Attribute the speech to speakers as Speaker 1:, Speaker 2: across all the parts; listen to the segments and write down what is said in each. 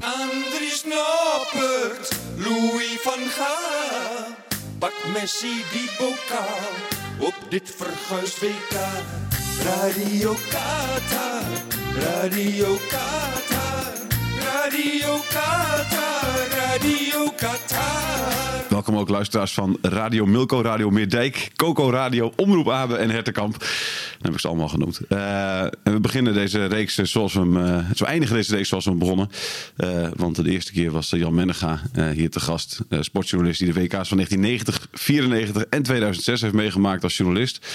Speaker 1: Andries Noppert, Louis van Gaal. Pak Messi die bokaal op dit verguisd WK. Radio Qatar, Radio Qatar, Radio Qatar, Radio Qatar.
Speaker 2: Welkom ook luisteraars van Radio Milko, Radio Meerdijk, Coco Radio, Omroep Abe en Hertenkamp. Dat heb ik ze allemaal genoemd. Eh, en we beginnen deze reeks eh, zoals we hem, eh, zo eindigen deze reeks zoals we hem begonnen. Eh, want de eerste keer was eh, Jan Mennega eh, hier te gast. eh, sportjournalist die de WK's van 1990, 94 en 2006 heeft meegemaakt als journalist.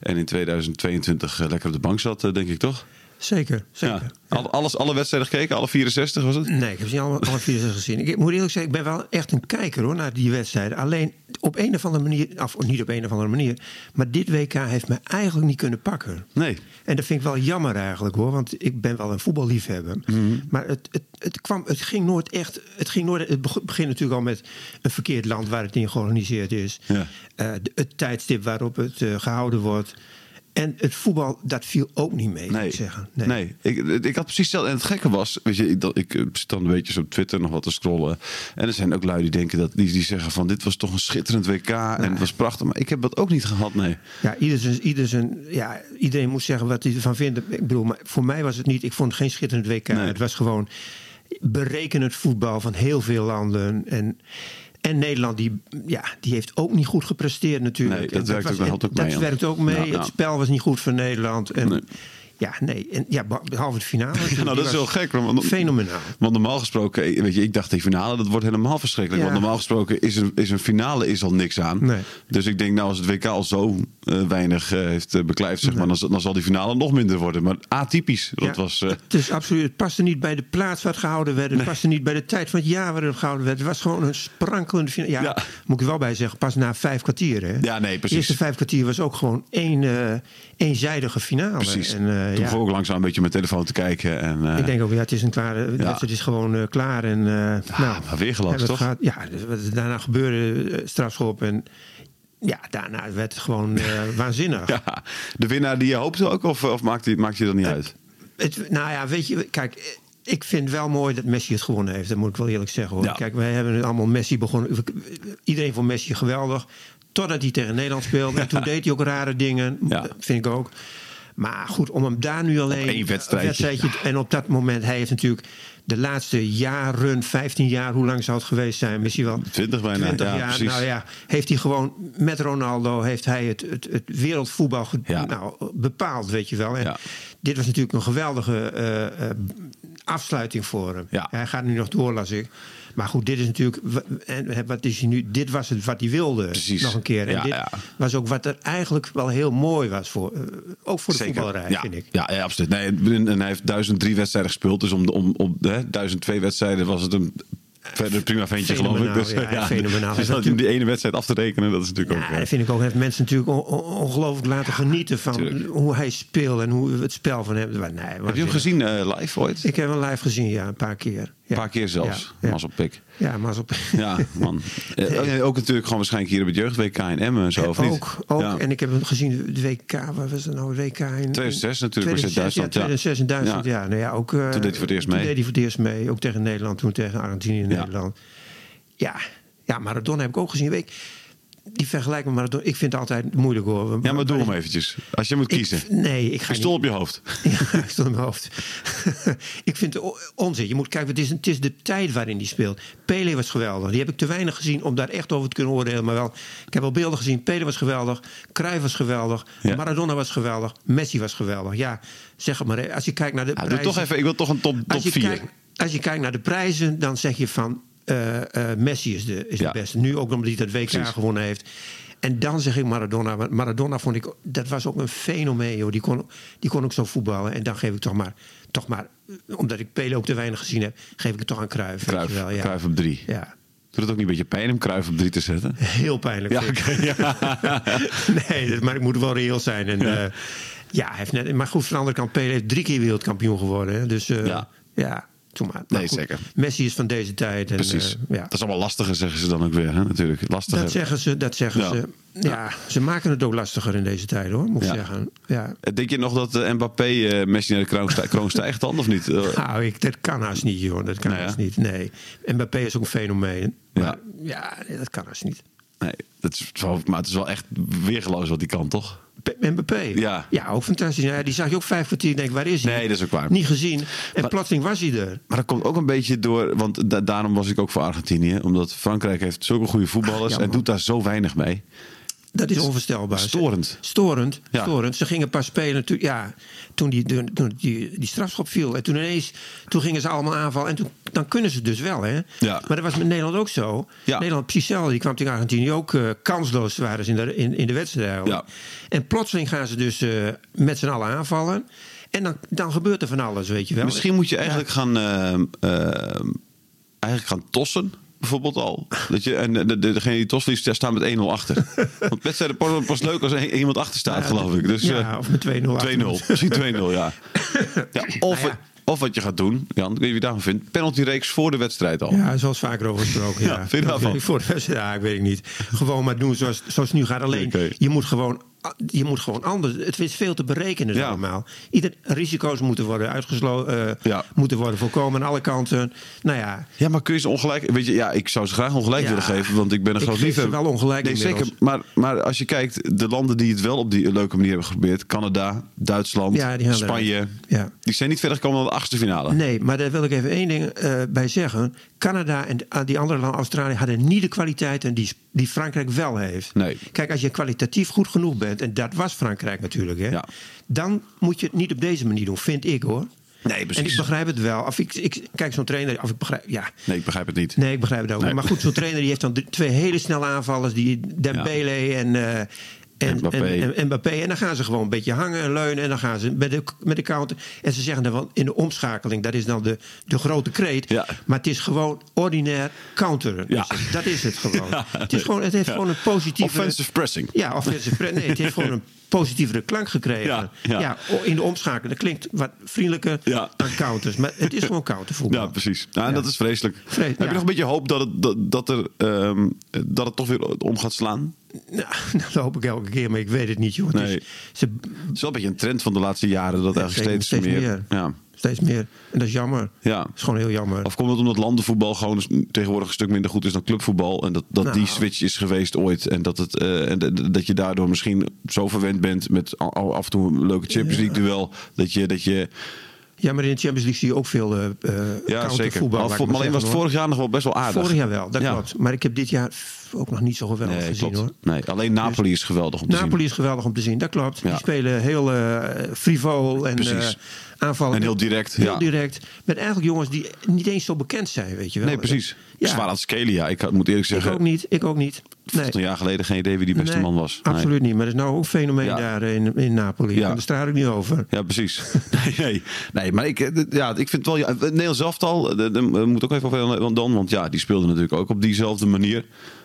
Speaker 2: En in 2022 eh, lekker op de bank zat, eh, denk ik toch?
Speaker 3: Zeker,
Speaker 2: Ja.
Speaker 3: zeker.
Speaker 2: Al- Alles, alle wedstrijden gekeken, alle 64 was het?
Speaker 3: Nee, ik heb ze niet alle, alle vier zes gezien. Ik moet eerlijk zeggen, ik ben wel echt een kijker hoor, naar die wedstrijden. Alleen op een of andere manier, of niet op een of andere manier, maar dit WK heeft me eigenlijk niet kunnen pakken.
Speaker 2: Nee.
Speaker 3: En dat vind ik wel jammer eigenlijk hoor, want ik ben wel een voetballiefhebber.
Speaker 2: Mhm.
Speaker 3: Maar het, het, het, kwam, het ging nooit echt. Het, ging nooit, het beg- begint natuurlijk al met een verkeerd land waar het in georganiseerd is.
Speaker 2: Ja.
Speaker 3: Eh, de- het tijdstip waarop het eh, gehouden wordt. En het voetbal, dat viel ook niet mee, moet
Speaker 2: Nee,
Speaker 3: ik zeggen.
Speaker 2: nee. Ik, ik had precies hetzelfde. En het gekke was, weet je, ik, dat, ik eh, zit dan een beetje zo op Twitter nog wat te scrollen. En er zijn ook lui die denken dat die, die zeggen van dit was toch een schitterend WK en het was prachtig. Maar ik heb dat ook niet gehad, nee.
Speaker 3: Ja, ieder zijn, ieder zijn, ja, iedereen moest zeggen wat hij ervan vindt. Ik bedoel, maar voor mij was het niet. Ik vond het geen schitterend WK.
Speaker 2: Nee.
Speaker 3: Het was gewoon berekenend voetbal van heel veel landen. En, en Nederland, die, ja, die heeft ook niet goed gepresteerd natuurlijk.
Speaker 2: Nee, dat
Speaker 3: En
Speaker 2: werkt ook-
Speaker 3: was-
Speaker 2: dat
Speaker 3: en
Speaker 2: had ook
Speaker 3: dat
Speaker 2: mee, ja.
Speaker 3: werkt ook mee.
Speaker 2: Ja, ja.
Speaker 3: Het spel was niet goed voor Nederland. En,
Speaker 2: Nee.
Speaker 3: Ja, nee. En, ja, behalve de finale.
Speaker 2: Ja, nou,
Speaker 3: Die
Speaker 2: dat is
Speaker 3: was
Speaker 2: wel gek. Want,
Speaker 3: Fenomenaal.
Speaker 2: Want normaal gesproken, eh, weet je, ik dacht die finale, dat wordt helemaal verschrikkelijk.
Speaker 3: Ja.
Speaker 2: Want normaal gesproken is een, is een finale is al niks aan.
Speaker 3: Nee.
Speaker 2: Dus ik denk, nou, als het WK al zo eh, weinig eh, heeft eh, beklijft, zeg maar, dan, dan zal die finale nog minder worden. Maar atypisch, dat
Speaker 3: Ja,
Speaker 2: was... eh,
Speaker 3: Het, is absoluut, het paste niet bij de plaats waar het gehouden werd. Het paste niet bij de tijd van het jaar waar het gehouden werd. Het was gewoon een sprankelende finale. Ja,
Speaker 2: Ja.
Speaker 3: moet ik er wel bij zeggen, pas na vijf kwartier. Hè?
Speaker 2: Ja, nee, precies.
Speaker 3: De eerste vijf kwartier was ook gewoon één, eh, eenzijdige finale.
Speaker 2: Precies.
Speaker 3: En, eh,
Speaker 2: Toen
Speaker 3: ja,
Speaker 2: begon ik langzaam een beetje mijn telefoon te kijken. En, eh,
Speaker 3: ik denk ook, ja, het is, een klare, het is gewoon eh, klaar. En, eh, nou,
Speaker 2: Ah, maar weer gelast,
Speaker 3: en wat
Speaker 2: toch?
Speaker 3: gaat- ja, dus wat er daarna gebeurde eh, strafschop. En ja, daarna werd het gewoon eh, waanzinnig.
Speaker 2: Ja, de winnaar die je hoopte ook, of, of maakt, die, maakt je dat
Speaker 3: Eh,
Speaker 2: niet uit?
Speaker 3: Het, nou ja, weet je, kijk, ik vind wel mooi dat Messi het gewonnen heeft. Dat moet ik wel eerlijk zeggen hoor.
Speaker 2: Ja.
Speaker 3: Kijk, wij hebben het allemaal Messi begonnen. We- Iedereen vond Messi geweldig. Totdat hij tegen Nederland speelde. En toen deed hij ook rare dingen.
Speaker 2: Ja.
Speaker 3: Dat vind ik ook. Maar goed, om hem daar nu alleen.
Speaker 2: één wedstrijdje.
Speaker 3: En op dat moment, hij heeft natuurlijk de laatste jaren, 15 jaar, hoe lang zou het geweest zijn? Misschien wel.
Speaker 2: 20 bijna,
Speaker 3: 20
Speaker 2: ja,
Speaker 3: jaar.
Speaker 2: precies.
Speaker 3: Nou ja, heeft hij gewoon met Ronaldo heeft hij het, het, het wereldvoetbal ge-
Speaker 2: Ja.
Speaker 3: nou, bepaald, weet je wel. En
Speaker 2: Ja.
Speaker 3: dit was natuurlijk een geweldige eh, eh, afsluiting voor hem.
Speaker 2: Ja.
Speaker 3: Hij gaat nu nog door, las ik. Maar goed, dit is natuurlijk. wa- En hè, wat is hij nu? Dit was het wat hij wilde.
Speaker 2: Precies.
Speaker 3: Nog een keer. En
Speaker 2: Ja,
Speaker 3: dit
Speaker 2: ja.
Speaker 3: was ook wat er eigenlijk wel heel mooi was voor. eh, ook voor de voetbalrij,
Speaker 2: ja.
Speaker 3: vind ik.
Speaker 2: Ja, ja, absoluut. Nee, en en hij heeft 1003 wedstrijden gespeeld. Dus om, om, om hè, 1002 wedstrijden was het een verder prima ventje, geloof ik.
Speaker 3: Fenomenaal,
Speaker 2: Dus,
Speaker 3: ja, fenomenaal.
Speaker 2: Dus
Speaker 3: Dat
Speaker 2: dat om die ene wedstrijd af te rekenen, dat is natuurlijk ook...
Speaker 3: Ja,
Speaker 2: eh,
Speaker 3: dat vind ik ook. Heeft mensen natuurlijk on- on- ongelooflijk laten genieten van
Speaker 2: tuurlijk.
Speaker 3: hoe hij speelt en hoe het spel van hem. Maar nee,
Speaker 2: heb je hem gezien eh, live ooit?
Speaker 3: Ik heb hem live gezien, ja, een paar keer. Ja.
Speaker 2: Een paar keer zelfs.
Speaker 3: Ja, ja.
Speaker 2: Mas op pik.
Speaker 3: Ja, maar op.
Speaker 2: Ja, man. Eh, ook- ook natuurlijk gewoon waarschijnlijk hier op het jeugd-WK in Emmen en zo, of niet?
Speaker 3: Eh, Ook, ook.
Speaker 2: Ja.
Speaker 3: En ik heb hem gezien, de WK, waar was dat nou? De WK in...
Speaker 2: 2006 natuurlijk, was het
Speaker 3: 2006,
Speaker 2: Duitsland,
Speaker 3: Ja,
Speaker 2: ja.
Speaker 3: 2006 in Duitsland,
Speaker 2: Ja.
Speaker 3: ja. Nou ja ook, eh,
Speaker 2: Toen deed hij voor het eerst
Speaker 3: toen
Speaker 2: mee.
Speaker 3: deed hij voor het eerst mee, ook tegen Nederland, toen tegen Argentinië en
Speaker 2: Ja.
Speaker 3: Nederland. Ja. ja, Maradona heb ik ook gezien. Ik, die vergelijking met Maradona, ik vind het altijd moeilijk hoor.
Speaker 2: Ja, maar doe hem eventjes. Als je moet
Speaker 3: Ik-
Speaker 2: kiezen.
Speaker 3: nee, ik ga
Speaker 2: Een
Speaker 3: niet-
Speaker 2: stoel op je hoofd.
Speaker 3: Ja, ik stond in mijn hoofd. ik vind het o- onzin. Je moet kijken, het is, het is de tijd waarin die speelt. Pele was geweldig. Die heb ik te weinig gezien om daar echt over te kunnen oordelen. Maar wel, ik heb wel beelden gezien. Pele was geweldig. Cruijff was geweldig.
Speaker 2: Ja.
Speaker 3: Maradona was geweldig. Messi was geweldig. Ja, zeg het maar. hè. Als je kijkt naar de
Speaker 2: Ja, Nou, doe
Speaker 3: prijzen...
Speaker 2: toch even, ik wil toch een top, top
Speaker 3: Als je,
Speaker 2: 4.
Speaker 3: kijkt, als je kijkt naar de prijzen, dan zeg je van eh, eh, Messi is de, is
Speaker 2: Ja.
Speaker 3: de beste. Nu ook omdat hij dat WK
Speaker 2: Precies.
Speaker 3: gewonnen heeft. En dan zeg ik Maradona. Want Maradona vond ik, dat was ook een fenomeen. Joh. Die, kon, die kon ook zo voetballen. En dan geef ik toch maar, eh, toch maar omdat ik Pele ook te weinig gezien heb, geef ik het toch aan Cruijff. weet
Speaker 2: Cruijff,
Speaker 3: je wel, ja.
Speaker 2: Cruijff op drie.
Speaker 3: Ja.
Speaker 2: Doet het ook niet een beetje pijn om Kruif op drie te zetten?
Speaker 3: Heel pijnlijk.
Speaker 2: Ja,
Speaker 3: vind ik.
Speaker 2: oké. ja.
Speaker 3: nee, dat- maar ik moet wel reëel zijn. En, eh, ja, hij heeft net, maar goed, van de andere kant, Pele heeft drie keer wereldkampioen geworden. Hè? Dus eh,
Speaker 2: Ja.
Speaker 3: ja, doe maar. maar
Speaker 2: Nee,
Speaker 3: goed,
Speaker 2: zeker.
Speaker 3: Messi is van deze tijd. En,
Speaker 2: Precies.
Speaker 3: eh, ja.
Speaker 2: Dat is allemaal lastiger, zeggen ze dan ook weer. Hè? Natuurlijk, lastiger.
Speaker 3: Dat zeggen ze, dat zeggen
Speaker 2: Ja.
Speaker 3: ze. Ja, ze maken het ook lastiger in deze tijd hoor, moet ik
Speaker 2: Ja.
Speaker 3: zeggen. Ja.
Speaker 2: Eh, Denk je nog dat eh, Mbappé eh, Messi naar de kroon, sta- kroon stijgt dan, of niet? Eh,
Speaker 3: Nou, ik, dat kan haast niet, joh. Dat kan
Speaker 2: Nou ja.
Speaker 3: haast niet. Nee. Mbappé is ook een fenomeen.
Speaker 2: Ja.
Speaker 3: Maar ja, dat kan haast niet.
Speaker 2: nee, dat is wel, maar het is wel echt weergeloos wat die kan, toch?
Speaker 3: P- Mbappé.
Speaker 2: Ja.
Speaker 3: ja, ook fantastisch. Ja, die zag je ook vijf kwartier. Denk, waar is hij?
Speaker 2: Nee, dat is ook waar.
Speaker 3: Niet gezien. En
Speaker 2: Maar-
Speaker 3: plotseling was hij er.
Speaker 2: Maar dat komt ook een beetje door, want da- daarom was ik ook voor Argentinië. Omdat Frankrijk heeft zulke goede voetballers
Speaker 3: Ja,
Speaker 2: en
Speaker 3: man.
Speaker 2: doet daar zo weinig mee.
Speaker 3: Dat is onvoorstelbaar.
Speaker 2: Storend.
Speaker 3: Storend.
Speaker 2: Ja.
Speaker 3: storend. Ze gingen pas spelen toen, ja, toen, die, toen die, die, strafschop viel. En toen ineens toen gingen ze allemaal aanvallen. En toen, dan kunnen ze het dus wel. Hè?
Speaker 2: Ja.
Speaker 3: Maar dat was met Nederland ook zo.
Speaker 2: Ja.
Speaker 3: Nederland precies hetzelfde. Die kwam tegen Argentinië ook eh, kansloos waren ze in de, in, in de wedstrijd. eigenlijk.
Speaker 2: Ja.
Speaker 3: En plotseling gaan ze dus eh, met z'n allen aanvallen. En dan, dan gebeurt er van alles, weet je wel.
Speaker 2: Misschien moet je
Speaker 3: Ja.
Speaker 2: eigenlijk gaan, ehm, ehm, eigenlijk gaan tossen. Bijvoorbeeld al. Dat je, en de, de, degene die tos liefst, daar staan met 1-0 achter. Want wedstrijden pas, pas leuk als een- iemand achter staat, geloof ik. Dus,
Speaker 3: Ja,
Speaker 2: eh,
Speaker 3: of met 2-0 achter.
Speaker 2: 2-0. Misschien 2-0, ja. ja, of,
Speaker 3: Nou ja.
Speaker 2: of wat je gaat doen, Jan, ik weet niet wie je daarvan vindt. Penalty-reeks voor de wedstrijd al.
Speaker 3: Ja, daar is wel eens vaker over gesproken. ja.
Speaker 2: Ja, vind je daarvan?
Speaker 3: Ik voor- ja, ik weet het niet. Gewoon maar doen zoals, zoals het nu gaat. Alleen,
Speaker 2: Oké.
Speaker 3: je, moet gewoon, je moet gewoon anders. Het is veel te berekenen
Speaker 2: Ja.
Speaker 3: allemaal. Ieder, risico's moeten worden uitgesloten,
Speaker 2: Ja.
Speaker 3: moeten worden voorkomen aan alle kanten. Nou ja,
Speaker 2: Ja, maar kun je ze ongelijk... Weet je, ja, ik zou ze graag ongelijk
Speaker 3: Ja.
Speaker 2: willen geven, want ik ben een
Speaker 3: Ik
Speaker 2: groot
Speaker 3: geef ze
Speaker 2: liefhebber.
Speaker 3: wel ongelijk
Speaker 2: Nee,
Speaker 3: inmiddels.
Speaker 2: zeker. Maar, maar als je kijkt, de landen die het wel op die leuke manier hebben geprobeerd... Canada, Duitsland,
Speaker 3: Ja, die gaan
Speaker 2: Spanje...
Speaker 3: eruit. Ja.
Speaker 2: Die zijn niet verder gekomen dan de achtste finale.
Speaker 3: nee, maar daar wil ik even één ding eh, bij zeggen. Canada en ah, die andere landen, Australië, hadden niet de kwaliteiten die, die Frankrijk wel heeft.
Speaker 2: Nee.
Speaker 3: Kijk, als je kwalitatief goed genoeg bent, en dat was Frankrijk natuurlijk, hè,
Speaker 2: Ja.
Speaker 3: dan moet je het niet op deze manier doen, vind ik hoor.
Speaker 2: Nee, precies.
Speaker 3: En ik begrijp het wel. Of ik, ik kijk zo'n trainer. Of ik begrijp, ja.
Speaker 2: Nee, ik begrijp het niet.
Speaker 3: Nee, ik begrijp het ook.
Speaker 2: Nee.
Speaker 3: Maar goed, zo'n trainer die heeft dan d- twee hele snelle aanvallers. Die Dembele en, eh, en,
Speaker 2: Mbappé.
Speaker 3: En, en Mbappé. En dan gaan ze gewoon een beetje hangen en leunen. En dan gaan ze met de, met de counter. En ze zeggen dan wel in de omschakeling. Dat is dan de, de grote kreet.
Speaker 2: Ja.
Speaker 3: Maar het is gewoon ordinair counteren. Dus
Speaker 2: Ja.
Speaker 3: Dat is het gewoon.
Speaker 2: Ja.
Speaker 3: Het, is gewoon het heeft
Speaker 2: Ja.
Speaker 3: gewoon een positieve...
Speaker 2: Offensive pressing.
Speaker 3: Ja, offensive pre- Nee, het heeft gewoon een positievere klank gekregen.
Speaker 2: Ja,
Speaker 3: Ja,
Speaker 2: ja.
Speaker 3: o- in de omschakeling. Dat klinkt wat vriendelijker
Speaker 2: Ja.
Speaker 3: dan counters. Maar het is gewoon countervoetbal.
Speaker 2: Ja, precies. Nou, en
Speaker 3: Ja.
Speaker 2: dat is vreselijk.
Speaker 3: Vres-
Speaker 2: Heb
Speaker 3: ja.
Speaker 2: je nog een beetje hoop dat het, dat, dat, er, ehm, dat het toch weer om gaat slaan?
Speaker 3: Nou, dat hoop ik elke keer, maar ik weet het niet, joh. Het
Speaker 2: Nee.
Speaker 3: is- ze,
Speaker 2: Het is wel een beetje een trend van de laatste jaren. Dat eigenlijk steeds, meer... Ja.
Speaker 3: Steeds meer. En dat is jammer.
Speaker 2: Ja.
Speaker 3: Dat is gewoon heel jammer.
Speaker 2: Of komt het omdat landenvoetbal gewoon tegenwoordig een stuk minder goed is dan clubvoetbal? En dat, dat
Speaker 3: Nou.
Speaker 2: die switch is geweest ooit. En dat, het, eh, en dat- dat je daardoor misschien zo verwend bent met a- af en toe een leuke Champions League duel. Dat je, dat je
Speaker 3: ja, maar in de Champions League zie je ook veel eh eh,
Speaker 2: ja, zeker.
Speaker 3: countervoetbal.
Speaker 2: Al-
Speaker 3: laat ik
Speaker 2: maar alleen was het
Speaker 3: zeggen, hoor.
Speaker 2: vorig jaar nog wel best wel aardig.
Speaker 3: Vorig jaar wel, dat
Speaker 2: Ja.
Speaker 3: klopt. Maar ik heb dit jaar ook nog niet zo geweldig
Speaker 2: Nee,
Speaker 3: gezien,
Speaker 2: klopt.
Speaker 3: hoor. Dus
Speaker 2: nee, alleen Napoli is geweldig om te zien.
Speaker 3: Napoli is geweldig om te zien, dat klopt.
Speaker 2: Ja.
Speaker 3: Die spelen heel eh frivol en eh
Speaker 2: Precies.
Speaker 3: aanvallen.
Speaker 2: En heel direct,
Speaker 3: Heel
Speaker 2: ja.
Speaker 3: direct. Met eigenlijk jongens die niet eens zo bekend zijn, weet je wel.
Speaker 2: Nee, precies.
Speaker 3: Ja,
Speaker 2: Zwaar aan het scalen, ja. Ik had- moet eerlijk
Speaker 3: ik
Speaker 2: zeggen,
Speaker 3: ook niet, ik ook niet. Nee.
Speaker 2: een jaar geleden geen idee wie die beste
Speaker 3: Nee,
Speaker 2: man was. Nee.
Speaker 3: Absoluut niet, maar er is nou ook een fenomeen
Speaker 2: Ja.
Speaker 3: daar in, in Napoli.
Speaker 2: Ja.
Speaker 3: En daar straal ik niet over.
Speaker 2: Ja, precies. Nee, nee. nee maar ik, eh, d- ja, ik vind het wel... Ja, het Nederlands elftal, eh, d- daar moet ook even over want dan... Want ja, die speelde natuurlijk ook op diezelfde manier.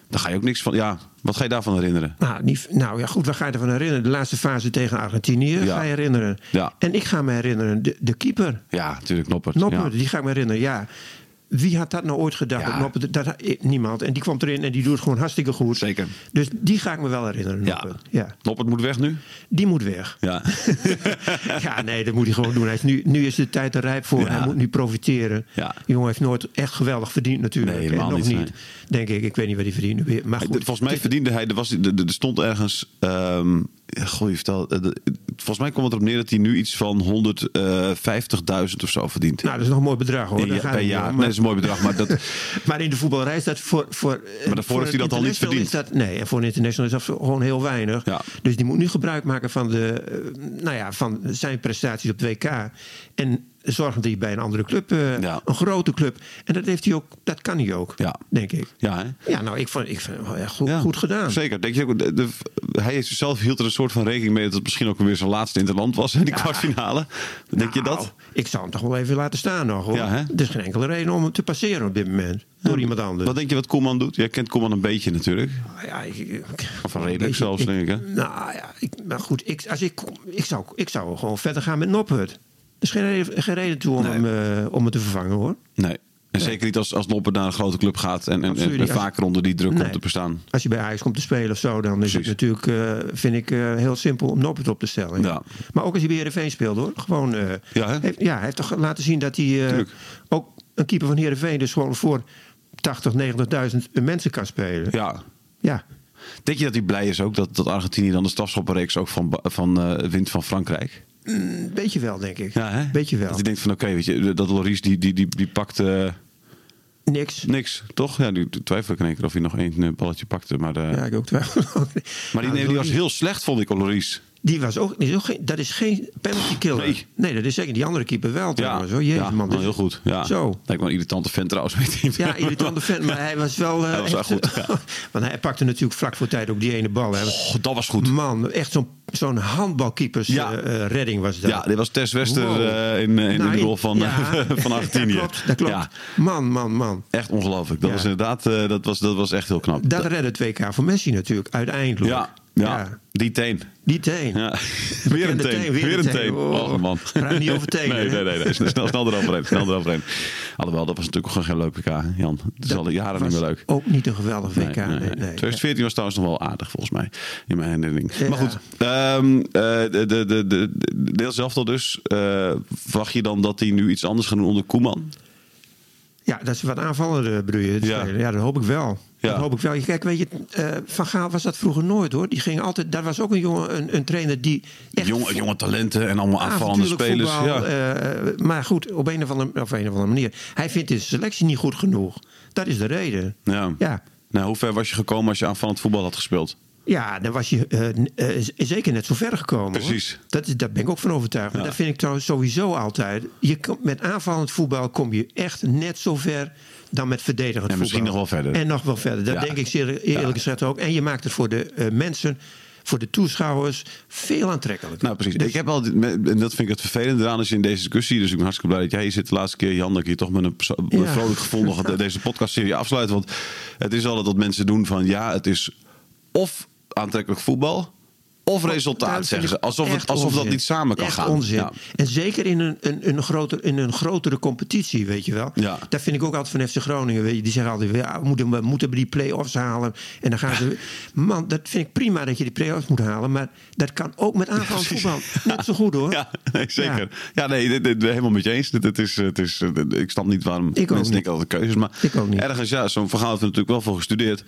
Speaker 2: Daar ga je ook niks van... Ja, wat ga je daarvan herinneren?
Speaker 3: Nou, niet, nou ja, goed, waar ga je ervan herinneren? De laatste fase tegen Argentinië
Speaker 2: Ja.
Speaker 3: ga je herinneren.
Speaker 2: Ja.
Speaker 3: En ik ga me herinneren, de, de keeper.
Speaker 2: Ja, natuurlijk Noppert.
Speaker 3: Noppert,
Speaker 2: ja.
Speaker 3: die ga ik me herinneren, ja. Wie had dat nou ooit gedacht?
Speaker 2: Ja.
Speaker 3: dat Noppert- dat, eh, niemand. En die kwam erin en die doet het gewoon hartstikke goed.
Speaker 2: Zeker.
Speaker 3: Dus die ga ik me wel herinneren.
Speaker 2: Ja.
Speaker 3: Noppert. Ja.
Speaker 2: Noppert moet weg nu?
Speaker 3: Die moet weg.
Speaker 2: Ja.
Speaker 3: ja, nee, dat moet hij gewoon doen. Hij is nu, nu is de tijd er rijp voor.
Speaker 2: Ja.
Speaker 3: Hij moet nu profiteren.
Speaker 2: Ja.
Speaker 3: Die jongen heeft nooit echt geweldig verdiend natuurlijk.
Speaker 2: Nee, helemaal
Speaker 3: en nog
Speaker 2: niet,
Speaker 3: niet,
Speaker 2: nee.
Speaker 3: denk ik. Ik weet niet wat hij verdient. nu weer. Maar
Speaker 2: Hij-
Speaker 3: goed,
Speaker 2: de- Volgens mij
Speaker 3: het is-
Speaker 2: verdiende hij... Er, was, er, er- er stond ergens... ehm ja, goh, je vertelt... eh, de- Volgens mij komt het erop neer dat hij nu iets van 150.000 of zo verdient.
Speaker 3: Nou, dat is nog een mooi bedrag hoor.
Speaker 2: In-
Speaker 3: Daar gaat
Speaker 2: per
Speaker 3: het niet
Speaker 2: jaar.
Speaker 3: om.
Speaker 2: Nee,
Speaker 3: Maar,
Speaker 2: dat is een mooi bedrag, maar dat...
Speaker 3: maar in de voetbalreis dat voor... voor eh,
Speaker 2: Maar daarvoor
Speaker 3: voor
Speaker 2: heeft hij
Speaker 3: een
Speaker 2: dat al niet
Speaker 3: international is dat, nee, en voor een international is dat gewoon heel weinig.
Speaker 2: Ja.
Speaker 3: Dus die moet nu gebruik maken van, de, eh, nou ja, van zijn prestaties op het WK. En zorgen dat hij bij een andere club, eh,
Speaker 2: Ja.
Speaker 3: een grote club. En dat, heeft hij ook, dat kan hij ook,
Speaker 2: Ja.
Speaker 3: denk ik.
Speaker 2: Ja, hè?
Speaker 3: Ja, nou, ik vond, ik vond het wel echt goed,
Speaker 2: Ja,
Speaker 3: goed gedaan.
Speaker 2: Zeker. Denk je ook, de, de- hij is zelf hield er een soort van rekening mee dat het misschien ook weer zijn laatste interland was in die kwartfinale. Denk je
Speaker 3: Nou,
Speaker 2: dat?
Speaker 3: Ik zou hem toch wel even laten staan nog. Hoor.
Speaker 2: Ja, hè?
Speaker 3: Er is geen enkele reden om hem te passeren op dit moment. Door iemand anders. Nou
Speaker 2: Wat denk je wat Koeman doet? Jij kent Koeman een beetje natuurlijk.
Speaker 3: ja, ik, ik-
Speaker 2: Of redelijk
Speaker 3: weet je,
Speaker 2: zelfs, denk ik, hè?
Speaker 3: Nou ja, ik, maar goed. Ik, als ik, ik, zou, ik zou gewoon verder gaan met Noppert. Er is geen, reden- geen reden toe om, hem, eh, om hem te vervangen, hoor.
Speaker 2: Nee. En zeker niet als, als Noppen naar een grote club gaat en, en, en,
Speaker 3: Absoluut niet.
Speaker 2: vaker onder die druk
Speaker 3: Nee.
Speaker 2: komt te bestaan.
Speaker 3: Als je bij Ajax komt te spelen of zo, dan is het
Speaker 2: Precies.
Speaker 3: natuurlijk, eh, vind ik, eh, heel simpel om Noppert op te stellen.
Speaker 2: Ja.
Speaker 3: Maar ook als hij bij Heerenveen speelt, hoor. Gewoon, eh,
Speaker 2: Ja, hè?
Speaker 3: heeft, ja, hij heeft toch laten zien dat hij eh,
Speaker 2: Tuurlijk.
Speaker 3: ook een keeper van Heerenveen dus gewoon voor 80, 90.000 mensen kan spelen.
Speaker 2: Ja.
Speaker 3: Ja.
Speaker 2: Denk je dat hij blij is ook dat, dat Argentinië dan de strafschoppenreeks ook van, Ba- van eh, wint van Frankrijk?
Speaker 3: Een Mm, beetje wel, denk ik.
Speaker 2: Ja, hè?
Speaker 3: Beetje wel.
Speaker 2: Dat je denkt van oké, weet je, dat Loris die, die, die, die pakt eh,
Speaker 3: Niks.
Speaker 2: niks, toch? Ja, nu twijfel ik in één keer of hij nog één eh, balletje pakte. Maar, eh,
Speaker 3: Ja, ik ook twijfel.
Speaker 2: maar die, nee, die was heel slecht, vond ik, Loris.
Speaker 3: Die was ook, die is ook geen, dat is geen penalty killer.
Speaker 2: Nee.
Speaker 3: Nee. dat is zeker. Die andere keeper wel trouwens. hoor. Jezus,
Speaker 2: ja,
Speaker 3: man.
Speaker 2: wel
Speaker 3: dit-
Speaker 2: heel goed. Ja.
Speaker 3: Zo.
Speaker 2: Lijkt me een irritante vent trouwens. Weet je.
Speaker 3: Ja, irritante fan, maar hij was wel... eh,
Speaker 2: Hij was wel goed, ja.
Speaker 3: Want hij pakte natuurlijk vlak voor tijd ook die ene bal. Hè.
Speaker 2: Oh, dat was goed.
Speaker 3: Man, echt zo'n zo'n handbalkeepers
Speaker 2: Ja.
Speaker 3: eh, eh, redding was dat.
Speaker 2: Ja, dit was Tess Wester
Speaker 3: Wow.
Speaker 2: eh, in, eh, in
Speaker 3: Nou,
Speaker 2: de
Speaker 3: ik-
Speaker 2: rol van,
Speaker 3: ja.
Speaker 2: van Argentinië.
Speaker 3: Dat klopt, dat klopt.
Speaker 2: Ja,
Speaker 3: Man, man, man.
Speaker 2: echt ongelooflijk. Dat
Speaker 3: Ja.
Speaker 2: was inderdaad eh, dat was, dat was echt heel knap.
Speaker 3: Dat redde het WK voor Messi natuurlijk, uiteindelijk.
Speaker 2: ja, ja, die teen.
Speaker 3: Die teen.
Speaker 2: Ja. Weer een
Speaker 3: Bekende
Speaker 2: teen.
Speaker 3: teen,
Speaker 2: Weer een teen. Oh,
Speaker 3: Oh,
Speaker 2: man.
Speaker 3: praat niet over tenen,
Speaker 2: Nee,
Speaker 3: hè?
Speaker 2: nee, nee. nee. Snel, snel eroverheen. Snel eroverheen. Alhoewel, dat was natuurlijk ook gewoon geen leuk WK, hè, Jan. Het is al jaren niet
Speaker 3: was
Speaker 2: meer leuk.
Speaker 3: Ook niet een geweldig WK. Nee, nee,
Speaker 2: 2014 was trouwens nog wel aardig volgens mij in mijn herinnering.
Speaker 3: Ja.
Speaker 2: Maar goed, ehm, eh, de, de, de, de, de deels zelf al dus. eh, verwacht je dan dat hij nu iets anders gaat doen onder Koeman?
Speaker 3: Ja, dat ze wat aanvallen eh, bedoel je. te
Speaker 2: Ja.
Speaker 3: spelen. Ja, dat hoop ik wel.
Speaker 2: Ja.
Speaker 3: Dat hoop ik wel. Kijk, weet je, eh, Van Gaal was dat vroeger nooit hoor. Die ging altijd, daar was ook een jongen, een, een trainer die echt
Speaker 2: Jonge, jonge talenten en allemaal aanvallende
Speaker 3: avontuurlijk
Speaker 2: spelers.
Speaker 3: voetbal,
Speaker 2: ja.
Speaker 3: eh, maar goed, op een, of andere, op een of andere manier. Hij vindt de selectie niet goed genoeg. Dat is de reden.
Speaker 2: ja.
Speaker 3: Ja,
Speaker 2: Nou, hoe ver was je gekomen als je aanvallend voetbal had gespeeld?
Speaker 3: Ja, dan was je eh, n- eh, z- zeker net zo ver gekomen. hoor.
Speaker 2: Precies.
Speaker 3: Dat, is- daar ben ik ook van overtuigd. Maar
Speaker 2: Ja.
Speaker 3: dat vind ik trouwens sowieso altijd. Je komt, met aanvallend voetbal kom je echt net zo ver dan met verdedigend
Speaker 2: En
Speaker 3: voetbal.
Speaker 2: misschien nog wel verder.
Speaker 3: En nog wel verder. Dat
Speaker 2: Ja.
Speaker 3: denk ik zeer eerlijk
Speaker 2: Ja.
Speaker 3: gezegd ook. En je maakt het voor de eh, mensen, voor de toeschouwers, veel aantrekkelijker.
Speaker 2: Nou, precies.
Speaker 3: Dus-
Speaker 2: Ik heb al, dit- en dat vind ik het vervelende eraan, is in deze discussie. Dus ik ben hartstikke blij dat jij hier zit de laatste keer, Jan. Dat ik hier toch met een perso-
Speaker 3: Ja.
Speaker 2: vrolijk gevoel nog de- deze podcastserie afsluit. Want het is altijd dat mensen doen van ja, het is of aantrekkelijk voetbal. Of resultaat,
Speaker 3: Dat Oh, vind
Speaker 2: zeggen ze.
Speaker 3: ik
Speaker 2: Alsof, het,
Speaker 3: echt
Speaker 2: alsof dat
Speaker 3: onzin.
Speaker 2: niet samen kan
Speaker 3: Echt
Speaker 2: gaan.
Speaker 3: onzin.
Speaker 2: Ja.
Speaker 3: En zeker in een, een, een, groter, in een grotere competitie, weet je wel.
Speaker 2: Ja.
Speaker 3: Dat vind ik ook altijd van FC Groningen. Weet je, die zeggen altijd, ja, we, moeten, we moeten die play-offs halen. En dan gaan ze... Man, dat vind ik prima dat je die play-offs moet halen. Maar dat kan ook met aanval
Speaker 2: Precies.
Speaker 3: voetbal. Net zo goed, hoor.
Speaker 2: Ja, nee, zeker. Ja, nee, dit, dit- helemaal met je eens. Dit, dit is, het is, eh, ik snap niet waarom
Speaker 3: ook
Speaker 2: mensen
Speaker 3: niet.
Speaker 2: denken dat het keuzes Maar
Speaker 3: Ik ook niet.
Speaker 2: ergens, ja, zo'n verhaal heeft er natuurlijk wel voor gestudeerd.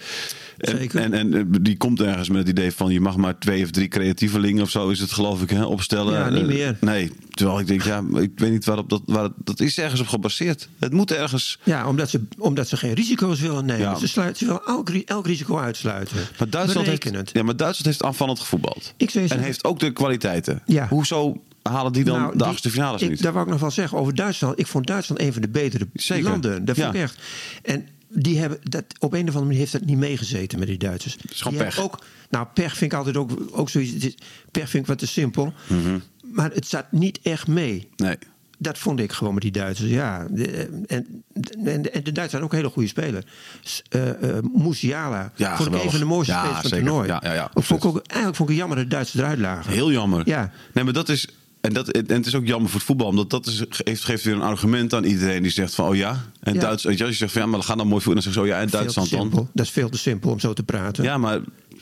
Speaker 2: En,
Speaker 3: Zeker.
Speaker 2: En, en eh, die komt ergens met het idee van je mag maar twee of drie creatievelingen of zo is het geloof ik hè, opstellen.
Speaker 3: Ja, niet
Speaker 2: Eh,
Speaker 3: meer.
Speaker 2: nee, terwijl ik denk, ja, maar ik weet niet waarop dat... Waar, het- dat is ergens op gebaseerd. Het moet ergens...
Speaker 3: Ja, omdat ze, omdat ze geen risico's willen nemen.
Speaker 2: Ja.
Speaker 3: Ze, sluiten, ze willen elk, ri- elk risico uitsluiten.
Speaker 2: Maar Duitsland, heeft,
Speaker 3: Berekenen het.
Speaker 2: ja, maar Duitsland heeft aanvallend gevoetbald.
Speaker 3: Ik zou je
Speaker 2: en
Speaker 3: zeggen-
Speaker 2: heeft ook de kwaliteiten.
Speaker 3: Ja.
Speaker 2: Hoezo halen die dan
Speaker 3: Nou,
Speaker 2: de
Speaker 3: die-
Speaker 2: achtste finales
Speaker 3: ik-
Speaker 2: niet?
Speaker 3: Daar wou ik nog wel zeggen over Duitsland. Ik vond Duitsland een van de betere
Speaker 2: Zeker.
Speaker 3: landen. Dat vond
Speaker 2: Ja.
Speaker 3: ik echt. En die hebben dat, op een of andere manier heeft dat niet meegezeten met die Duitsers.
Speaker 2: is gewoon
Speaker 3: Die hebben
Speaker 2: pech.
Speaker 3: Ook, nou, pech vind ik altijd ook, ook zoiets. het is- Pech vind ik wat te simpel.
Speaker 2: Mhm.
Speaker 3: Maar het zat niet echt mee.
Speaker 2: Nee.
Speaker 3: Dat vond ik gewoon met die Duitsers, ja. De- En, en, en de Duitsers zijn ook hele goede spelers. S- eh eh, Musiala
Speaker 2: Ja,
Speaker 3: vond ik
Speaker 2: geweldig.
Speaker 3: een van de mooiste
Speaker 2: Ja,
Speaker 3: spelers van
Speaker 2: zeker.
Speaker 3: het toernooi.
Speaker 2: Ja, ja, ja,
Speaker 3: Ook vond ik ook, eigenlijk vond ik het jammer dat de Duitsers eruit lagen.
Speaker 2: Heel jammer.
Speaker 3: Ja.
Speaker 2: Nee, maar dat is. En, dat, en het is ook jammer voor het voetbal, omdat dat is, geeft, geeft weer een argument aan iedereen die zegt van, oh ja, en
Speaker 3: Ja.
Speaker 2: Duits, weet je, als je zegt van, ja, maar gaan dan mooi voetballen, dan zeggen ze, oh ja, en
Speaker 3: Veel te
Speaker 2: Duitsland dan.
Speaker 3: simpel. Dat is veel te simpel om zo te praten.
Speaker 2: Ja, maar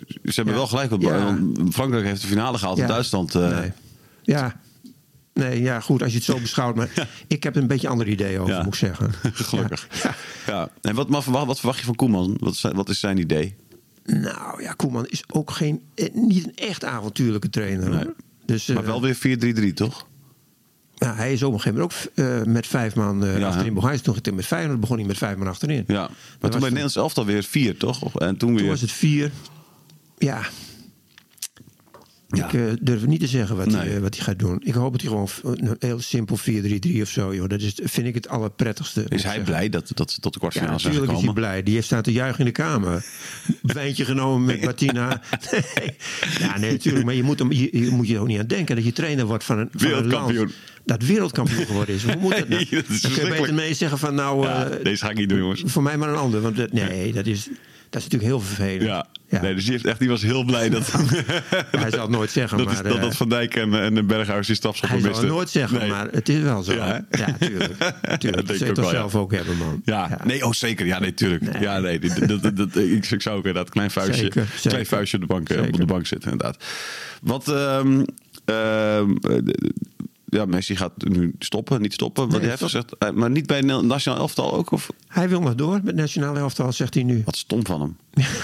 Speaker 2: ze hebben
Speaker 3: Ja.
Speaker 2: wel gelijk.
Speaker 3: Ja.
Speaker 2: want Frankrijk heeft de finale gehaald en
Speaker 3: Ja.
Speaker 2: Duitsland. eh,
Speaker 3: Nee. Ja. Nee, ja, goed, als je het zo beschouwt. Maar ik heb er een beetje ander idee over,
Speaker 2: Ja.
Speaker 3: moet ik zeggen.
Speaker 2: Gelukkig. Ja.
Speaker 3: Ja.
Speaker 2: En wat, maar wat, wat verwacht je van Koeman? Wat is, zijn- wat is zijn idee?
Speaker 3: Ja. Nou ja, Koeman is ook geen, eh, niet een echt avontuurlijke trainer. hoor.
Speaker 2: Nee.
Speaker 3: Dus, eh,
Speaker 2: Maar wel weer 4-3-3, toch?
Speaker 3: nou, hij is op een gegeven moment ook eh, met vijf man eh
Speaker 2: Ja,
Speaker 3: achterin
Speaker 2: hè?
Speaker 3: begonnen. Hij is toen geteerd met Feyenoord begon hij met vijf man achterin.
Speaker 2: Ja. Maar
Speaker 3: was
Speaker 2: toen bij
Speaker 3: het-
Speaker 2: Nederlands elftal weer 4, toch? En toen weer...
Speaker 3: Toen was het vier. Ja.
Speaker 2: Ja.
Speaker 3: Ik eh, durf niet te zeggen wat, hij,
Speaker 2: Nee.
Speaker 3: eh, wat hij gaat doen. Ik hoop dat hij gewoon eh, een heel simpel 4-3-3 of zo, joh. Dat is, vind ik het allerprettigste. moet ik
Speaker 2: Is hij
Speaker 3: zeggen.
Speaker 2: blij dat, dat ze tot de
Speaker 3: eh, Ja,
Speaker 2: kwartfinale zijn
Speaker 3: natuurlijk is hij
Speaker 2: gekomen?
Speaker 3: blij. Die heeft staan te juichen in de kamer. Wijntje genomen met Martina. Nee. Ja, nee, natuurlijk. Maar je moet, hem, je, je moet je er ook niet aan denken dat je trainer wordt van een, van een land
Speaker 2: Wereldkampioen.
Speaker 3: dat wereldkampioen geworden is. Hoe moet dat nou?
Speaker 2: Nee, dat is
Speaker 3: Dan kun je
Speaker 2: verschrikkelijk.
Speaker 3: beter mee zeggen van nou,
Speaker 2: Ja,
Speaker 3: eh,
Speaker 2: deze ga ik niet doen, jongens.
Speaker 3: voor mij maar een ander. Want dat, nee, dat is, dat is natuurlijk heel vervelend.
Speaker 2: Ja. Nee, dus die, heeft echt, die was heel blij dat,
Speaker 3: Ja, hij zal het nooit zeggen,
Speaker 2: dat,
Speaker 3: maar...
Speaker 2: is, dat,
Speaker 3: eh,
Speaker 2: dat Van Dijk en, en de Berghuis die stafschop
Speaker 3: hij zal
Speaker 2: misten.
Speaker 3: het nooit zeggen,
Speaker 2: Nee.
Speaker 3: maar het is wel zo.
Speaker 2: Ja,
Speaker 3: Ja,
Speaker 2: hè?
Speaker 3: tuurlijk.
Speaker 2: Ja, denk
Speaker 3: tuurlijk. dat
Speaker 2: ik
Speaker 3: zou je
Speaker 2: ook
Speaker 3: toch
Speaker 2: wel, ja.
Speaker 3: zelf ook hebben, man.
Speaker 2: Ja. nee, oh zeker. Ja, nee, tuurlijk. Ja, nee, dit- dat, dat, dat- ik, ik zou ook inderdaad een klein vuistje,
Speaker 3: Zeker,
Speaker 2: klein
Speaker 3: zeker.
Speaker 2: vuistje op, de bank, eh, op de
Speaker 3: Zeker.
Speaker 2: bank zitten, inderdaad. Wat, ehm, ehm, eh, ja, Messi gaat nu stoppen, niet stoppen, wat
Speaker 3: Nee,
Speaker 2: hij heeft gezegd. Eh, Maar niet bij het nationaal elftal ook? Of?
Speaker 3: Hij wil nog door met nationale elftal, zegt hij nu.
Speaker 2: Wat stom van hem.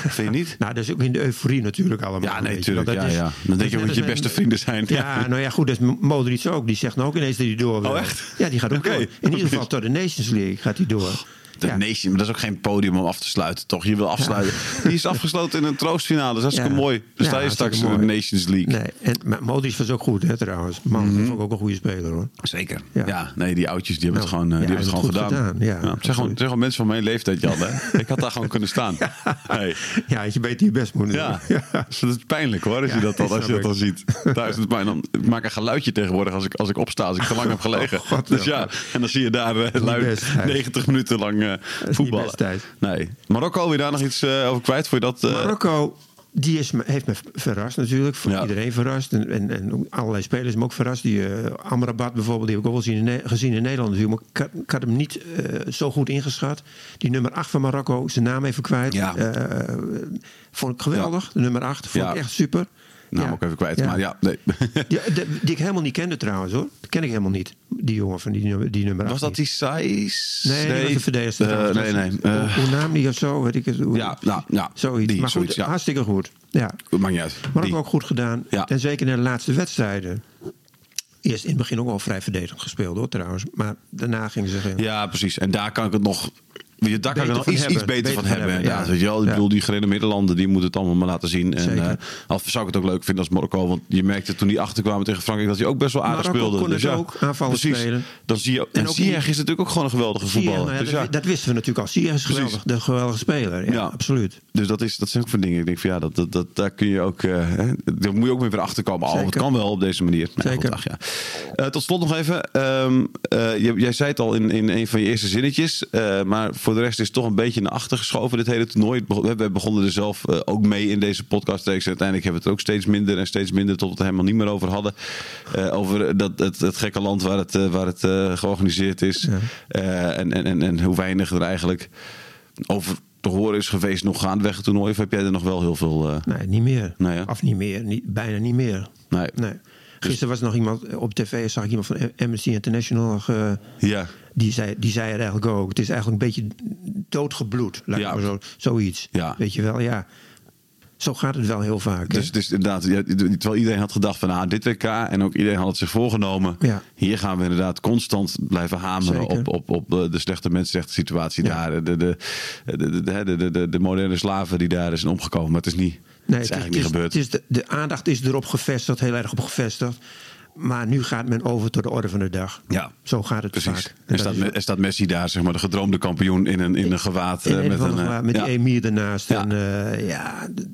Speaker 2: Vind je niet?
Speaker 3: Nou, dat is ook in de euforie natuurlijk allemaal.
Speaker 2: Ja, nee,
Speaker 3: weet je wel.
Speaker 2: tuurlijk.
Speaker 3: Dat
Speaker 2: Ja,
Speaker 3: is-
Speaker 2: ja. Dan denk je
Speaker 3: is
Speaker 2: ook
Speaker 3: net
Speaker 2: dat je
Speaker 3: als met-
Speaker 2: beste vrienden zijn.
Speaker 3: Ja, nou ja, goed, dat is Modric ook. Die zegt nou ook ineens dat hij door wil.
Speaker 2: Oh, echt?
Speaker 3: Ja, die gaat ook
Speaker 2: Oké.
Speaker 3: door. In ieder geval tot de Nations League gaat hij door.
Speaker 2: De
Speaker 3: ja.
Speaker 2: Nation, maar dat is ook geen podium om af te sluiten, toch? Je wil afsluiten. Die is afgesloten in een troostfinale. Dat is hartstikke
Speaker 3: Ja.
Speaker 2: mooi. Dus
Speaker 3: Ja,
Speaker 2: sta je straks in
Speaker 3: hartstikke
Speaker 2: de
Speaker 3: mooi.
Speaker 2: Nations League. Mhm.
Speaker 3: Nee, en, maar Modric was ook goed, hè, trouwens. Man, dat vond ik ook een goede speler, hoor.
Speaker 2: Zeker. Ja.
Speaker 3: Ja.
Speaker 2: nee, die oudjes die hebben het
Speaker 3: Nou,
Speaker 2: gewoon, eh, die
Speaker 3: ja,
Speaker 2: hebben het gewoon
Speaker 3: hebben
Speaker 2: gedaan.
Speaker 3: het goed gedaan. Ja,
Speaker 2: zeg, gewoon,
Speaker 3: absoluut.
Speaker 2: zeg gewoon mensen van mijn leeftijd, Jan. Hè? Ik had daar gewoon kunnen staan. Hey.
Speaker 3: Ja, als je beter je best moet doen.
Speaker 2: Ja. Dus dat is pijnlijk hoor, als je
Speaker 3: Ja,
Speaker 2: dat dan,
Speaker 3: dat
Speaker 2: als je dat
Speaker 3: snap
Speaker 2: dan ziet. Daar is het pijnlijk. Ik maak een geluidje tegenwoordig als ik, als ik opsta, als ik te lang heb gelegen.
Speaker 3: Oh, God,
Speaker 2: dus
Speaker 3: ja.
Speaker 2: ja, en dan zie je daar eh,
Speaker 3: is niet
Speaker 2: lui
Speaker 3: best, Thijs.
Speaker 2: 90 minuten lang eh,
Speaker 3: niet
Speaker 2: voetballen.
Speaker 3: best, Thijs.
Speaker 2: nee. Marokko, wil je daar nog iets eh, over kwijt? Voor je dat, eh,
Speaker 3: Marokko, die is, me- heeft me verrast natuurlijk. Voor
Speaker 2: Ja.
Speaker 3: iedereen verrast. En, en, en allerlei spelers me ook verrast. Die eh, Amrabat bijvoorbeeld, die heb ik ook wel zien in Ne- gezien in Nederland natuurlijk. Maar ik had, ik had hem niet eh, zo goed ingeschat. Die nummer 8 van Marokko, zijn naam even kwijt.
Speaker 2: Ja.
Speaker 3: Eh, vond ik geweldig, de nummer 8. Vond
Speaker 2: Ja.
Speaker 3: ik echt super.
Speaker 2: Nou,
Speaker 3: Ja.
Speaker 2: ook even kwijt. Maar ja, nee.
Speaker 3: Die, die, die ik helemaal niet kende trouwens hoor. Die ken ik helemaal niet. Die jongen van die, nummer- die nummer 8.
Speaker 2: Was dat die Saiz?
Speaker 3: Nee, die was de verdedigster.
Speaker 2: Eh,
Speaker 3: trouwens.
Speaker 2: nee, nee. eh,
Speaker 3: hoe, hoe naam die of zo, weet ik het. Hoe,
Speaker 2: Ja, nou, ja,
Speaker 3: zoiets.
Speaker 2: die,
Speaker 3: maar goed,
Speaker 2: zoiets, ja.
Speaker 3: hartstikke goed. Ja.
Speaker 2: maakt niet uit.
Speaker 3: Maar
Speaker 2: Die.
Speaker 3: ook goed gedaan.
Speaker 2: Ja.
Speaker 3: En zeker in de laatste wedstrijden. Eerst in het begin ook al vrij verdedigend gespeeld hoor trouwens. Maar daarna gingen ze... Ja.
Speaker 2: Ja, precies. En daar kan ik het nog. weet Je, daar kan ik
Speaker 3: Beter
Speaker 2: er nog
Speaker 3: van
Speaker 2: iets,
Speaker 3: hebben.
Speaker 2: iets beter, van hebben. inderdaad.
Speaker 3: ja.
Speaker 2: Weet je wel? Ik
Speaker 3: Ja.
Speaker 2: bedoel, die gerenommeerde landen die moeten het allemaal maar laten zien. En
Speaker 3: Zeker.
Speaker 2: eh, al zou ik het ook leuk vinden als Marokko. Want je merkte toen die achterkwamen tegen Frankrijk dat hij ook best wel aardig
Speaker 3: Marokko
Speaker 2: speelde.
Speaker 3: kon
Speaker 2: dus
Speaker 3: het
Speaker 2: ja,
Speaker 3: ook, aanvallend
Speaker 2: precies.
Speaker 3: spelen.
Speaker 2: Dan zie je, en
Speaker 3: ook
Speaker 2: Ziyech
Speaker 3: niet-
Speaker 2: is natuurlijk ook gewoon een geweldige voetballer.
Speaker 3: nou dat,
Speaker 2: dus, ja.
Speaker 3: dat wisten we natuurlijk al. Sierra is
Speaker 2: Precies.
Speaker 3: geweldig. De geweldige speler. Ja,
Speaker 2: Ja.
Speaker 3: absoluut.
Speaker 2: dus dat, is, dat zijn ook van dingen. Ik denk van ja, dat, dat, dat, daar kun je ook. eh, hè, daar moet je ook weer van achterkomen. Al, het
Speaker 3: Zeker.
Speaker 2: kan wel op deze manier. Nou,
Speaker 3: Zeker.
Speaker 2: goed, ach, ja. Eh, tot slot nog even. ehm, eh, jij, jij zei het al in, in een van je eerste zinnetjes. eh, maar voor de rest is het toch een beetje naar achter geschoven. Dit hele toernooi. Het begon- We we begonnen er zelf eh, ook mee in deze podcast. En uiteindelijk hebben we het ook steeds minder en steeds minder. Tot we het er helemaal niet meer over hadden. Eh, over dat, het, het gekke land waar het, eh, waar het eh, georganiseerd is. Eh, en, en, en, en hoe weinig er eigenlijk over te horen is geweest nog gaandeweg het toernooi? Of heb jij er nog wel heel veel... eh,
Speaker 3: Nee, niet meer.
Speaker 2: Nee, hè?
Speaker 3: Of niet meer. Niet, bijna niet meer.
Speaker 2: Nee. Dus
Speaker 3: Gisteren was er nog iemand op tv. Zag ik iemand van Amnesty International... nog, eh,
Speaker 2: Ja,
Speaker 3: die zei, die zei het eigenlijk ook. Het is eigenlijk een beetje doodgebloed. Laat ik
Speaker 2: Ja.
Speaker 3: maar zo, zoiets.
Speaker 2: Ja.
Speaker 3: Weet je wel, ja. Zo gaat het wel heel vaak. hè?
Speaker 2: dus het is inderdaad... ja, terwijl iedereen had gedacht van nou, dit WK... en ook iedereen had het zich voorgenomen...
Speaker 3: Ja.
Speaker 2: hier gaan we inderdaad constant blijven hameren...
Speaker 3: Zeker.
Speaker 2: Op, op, op eh, de slechte mensenrechten situatie
Speaker 3: Ja.
Speaker 2: daar. De, de, de, de, de, de, de, de moderne slaven die daar zijn omgekomen. Maar het is niet... het is eigenlijk niet gebeurd.
Speaker 3: het is de, de aandacht is erop gevestigd, heel erg op gevestigd. Maar nu gaat men over tot de orde van de dag.
Speaker 2: Ja.
Speaker 3: Zo gaat het
Speaker 2: Precies.
Speaker 3: vaak.
Speaker 2: En
Speaker 3: dat
Speaker 2: staat,
Speaker 3: is-
Speaker 2: Me- en staat Messi daar, zeg maar, de gedroomde kampioen in een, in een gewaad. eh,
Speaker 3: in een of andere
Speaker 2: eh,
Speaker 3: gewaad met
Speaker 2: ja.
Speaker 3: die emir ernaast.
Speaker 2: Ja.
Speaker 3: En eh, ja, d-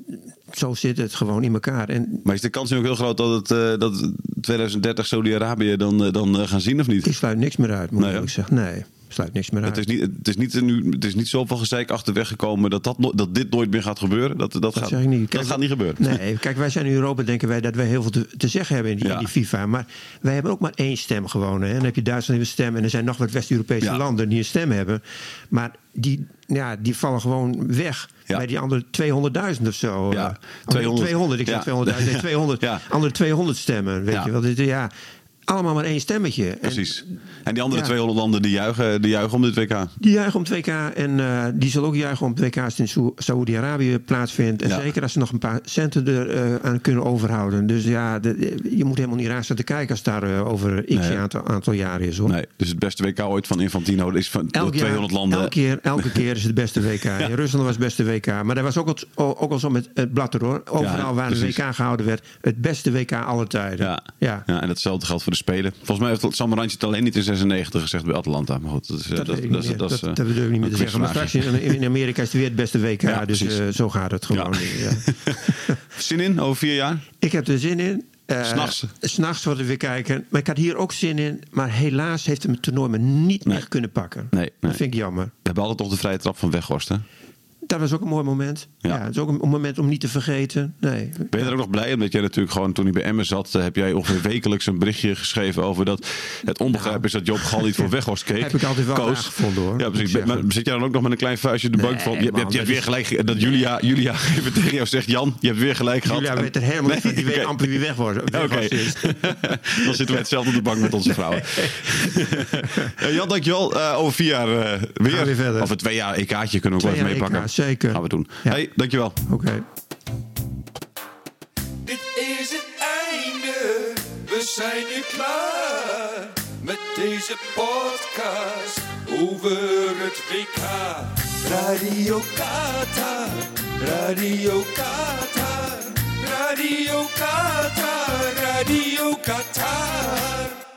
Speaker 3: zo zit het gewoon in elkaar. En
Speaker 2: Maar is de kans nu ook heel groot dat het eh, dat 2030 Saudi-Arabië dan, eh, dan eh, gaan zien of niet?
Speaker 3: ik sluit niks meer uit, moet
Speaker 2: Nee,
Speaker 3: ik eerlijk zeggen. Nee, sluit niks meer uit.
Speaker 2: Het is niet, het is niet, nu, het is niet zoveel gezeik achterweg gekomen dat, dat, no- dat dit nooit meer gaat gebeuren. Dat, dat, gaat,
Speaker 3: Dat zeg ik niet.
Speaker 2: dat
Speaker 3: Kijk,
Speaker 2: gaat niet gebeuren.
Speaker 3: Nee, kijk, wij zijn in Europa, denken wij dat wij heel veel te, te zeggen hebben in die,
Speaker 2: Ja.
Speaker 3: in die FIFA. Maar wij hebben ook maar één stem gewoon. Hè. En dan heb je Duitsland een stem en er zijn nog wat West-Europese
Speaker 2: Ja.
Speaker 3: landen die een stem hebben. Maar die, ja, die vallen gewoon weg.
Speaker 2: Ja.
Speaker 3: Bij die andere 200.000 of zo.
Speaker 2: Ja,
Speaker 3: Eh, oh,
Speaker 2: 200.
Speaker 3: 200, ik
Speaker 2: Ja.
Speaker 3: zeg 200.000. Nee, 200.
Speaker 2: Ja.
Speaker 3: Andere 200 stemmen, weet
Speaker 2: Ja.
Speaker 3: je wel. Dit, ja, allemaal maar één stemmetje. En
Speaker 2: Precies. En die andere
Speaker 3: ja.
Speaker 2: twee Hollanden die juichen, die juichen om dit WK.
Speaker 3: die juichen om 2K en eh, die zal ook juichen om 2K als het in Saoe- Saoedi-Arabië plaatsvindt. En
Speaker 2: Ja.
Speaker 3: zeker als ze nog een paar centen er eh, aan kunnen overhouden. Dus ja, de- je moet helemaal niet raar staan te kijken als het daar eh, over x
Speaker 2: Nee.
Speaker 3: aantal, aantal jaren is hoor.
Speaker 2: Nee, dus het beste WK ooit van Infantino is van door 200 landen.
Speaker 3: Elke keer, elke keer is het beste WK. In Rusland was het beste WK. Maar dat was ook, al- ook al zo met het blad er hoor. Overal
Speaker 2: Ja,
Speaker 3: waar
Speaker 2: precies.
Speaker 3: een WK gehouden werd. Het beste WK alle tijden.
Speaker 2: Ja. Ja. en datzelfde geldt voor de Spelen. Volgens mij heeft Samaransje het alleen niet in 96 gezegd bij Atlanta. Maar goed, dat is... eh,
Speaker 3: Dat,
Speaker 2: dat-
Speaker 3: weet ik
Speaker 2: dat
Speaker 3: niet
Speaker 2: is-
Speaker 3: meer.
Speaker 2: dat
Speaker 3: dat,
Speaker 2: is, eh,
Speaker 3: dat bedoel ik niet meer
Speaker 2: een
Speaker 3: te zeggen. Maar straks
Speaker 2: quizvraagje.
Speaker 3: in, in Amerika is het weer het beste WK.
Speaker 2: Ja,
Speaker 3: dus
Speaker 2: precies.
Speaker 3: eh, zo gaat het gewoon.
Speaker 2: Ja.
Speaker 3: Ja.
Speaker 2: Zin in over vier jaar?
Speaker 3: Ik heb er zin in. Eh,
Speaker 2: S'nachts.
Speaker 3: S'nachts wat we weer kijken. Maar ik had hier ook zin in. Maar helaas heeft hem het toernooi me niet
Speaker 2: Nee.
Speaker 3: meer kunnen pakken.
Speaker 2: Nee, nee.
Speaker 3: Dat vind ik jammer.
Speaker 2: We hebben altijd nog de vrije trap van Weghorst, hè?
Speaker 3: Dat was ook een mooi moment.
Speaker 2: Ja.
Speaker 3: Ja, het is ook een, een moment om niet te vergeten. Nee.
Speaker 2: Ben je er ook nog blij om? Dat jij natuurlijk gewoon toen hij bij Emmen zat... eh, heb jij ongeveer wekelijks een berichtje geschreven over dat... het onbegrijp is dat Job Gal niet voor Weghorst keek.
Speaker 3: Heb ik altijd wel
Speaker 2: Koos.
Speaker 3: raar gevonden, hoor.
Speaker 2: Ja, precies.
Speaker 3: Moet ik
Speaker 2: Maar
Speaker 3: zeggen.
Speaker 2: zit jij dan ook nog met een klein vuistje de bank
Speaker 3: Nee,
Speaker 2: van... Je, je,
Speaker 3: man,
Speaker 2: hebt- je hebt
Speaker 3: dat
Speaker 2: weer
Speaker 3: is-
Speaker 2: gelijk... Dat Julia, Julia even tegen jou zegt... Jan, je hebt weer gelijk gehad.
Speaker 3: Julia
Speaker 2: En-
Speaker 3: weet er helemaal niet van. Die weet
Speaker 2: oké.
Speaker 3: amper wie weg dus. wordt.
Speaker 2: Ja, Oké,
Speaker 3: Weghorst is.
Speaker 2: dan zitten we hetzelfde op de bank met onze vrouwen. Eh, Jan, dankjewel. Eh over vier jaar eh, weer.
Speaker 3: Gaan we weer verder.
Speaker 2: Over twee jaar EK'tje kunnen we ook
Speaker 3: Twee
Speaker 2: wel even
Speaker 3: jaar EK,
Speaker 2: meepakken.
Speaker 3: zeker.
Speaker 2: Gaan we doen.
Speaker 3: Ja.
Speaker 2: Hey, dankjewel.
Speaker 3: Oké.
Speaker 1: Dit is het einde, we zijn nu klaar met deze podcast over het WK. Radio Qatar, Radio Qatar, Radio Qatar, Radio Qatar.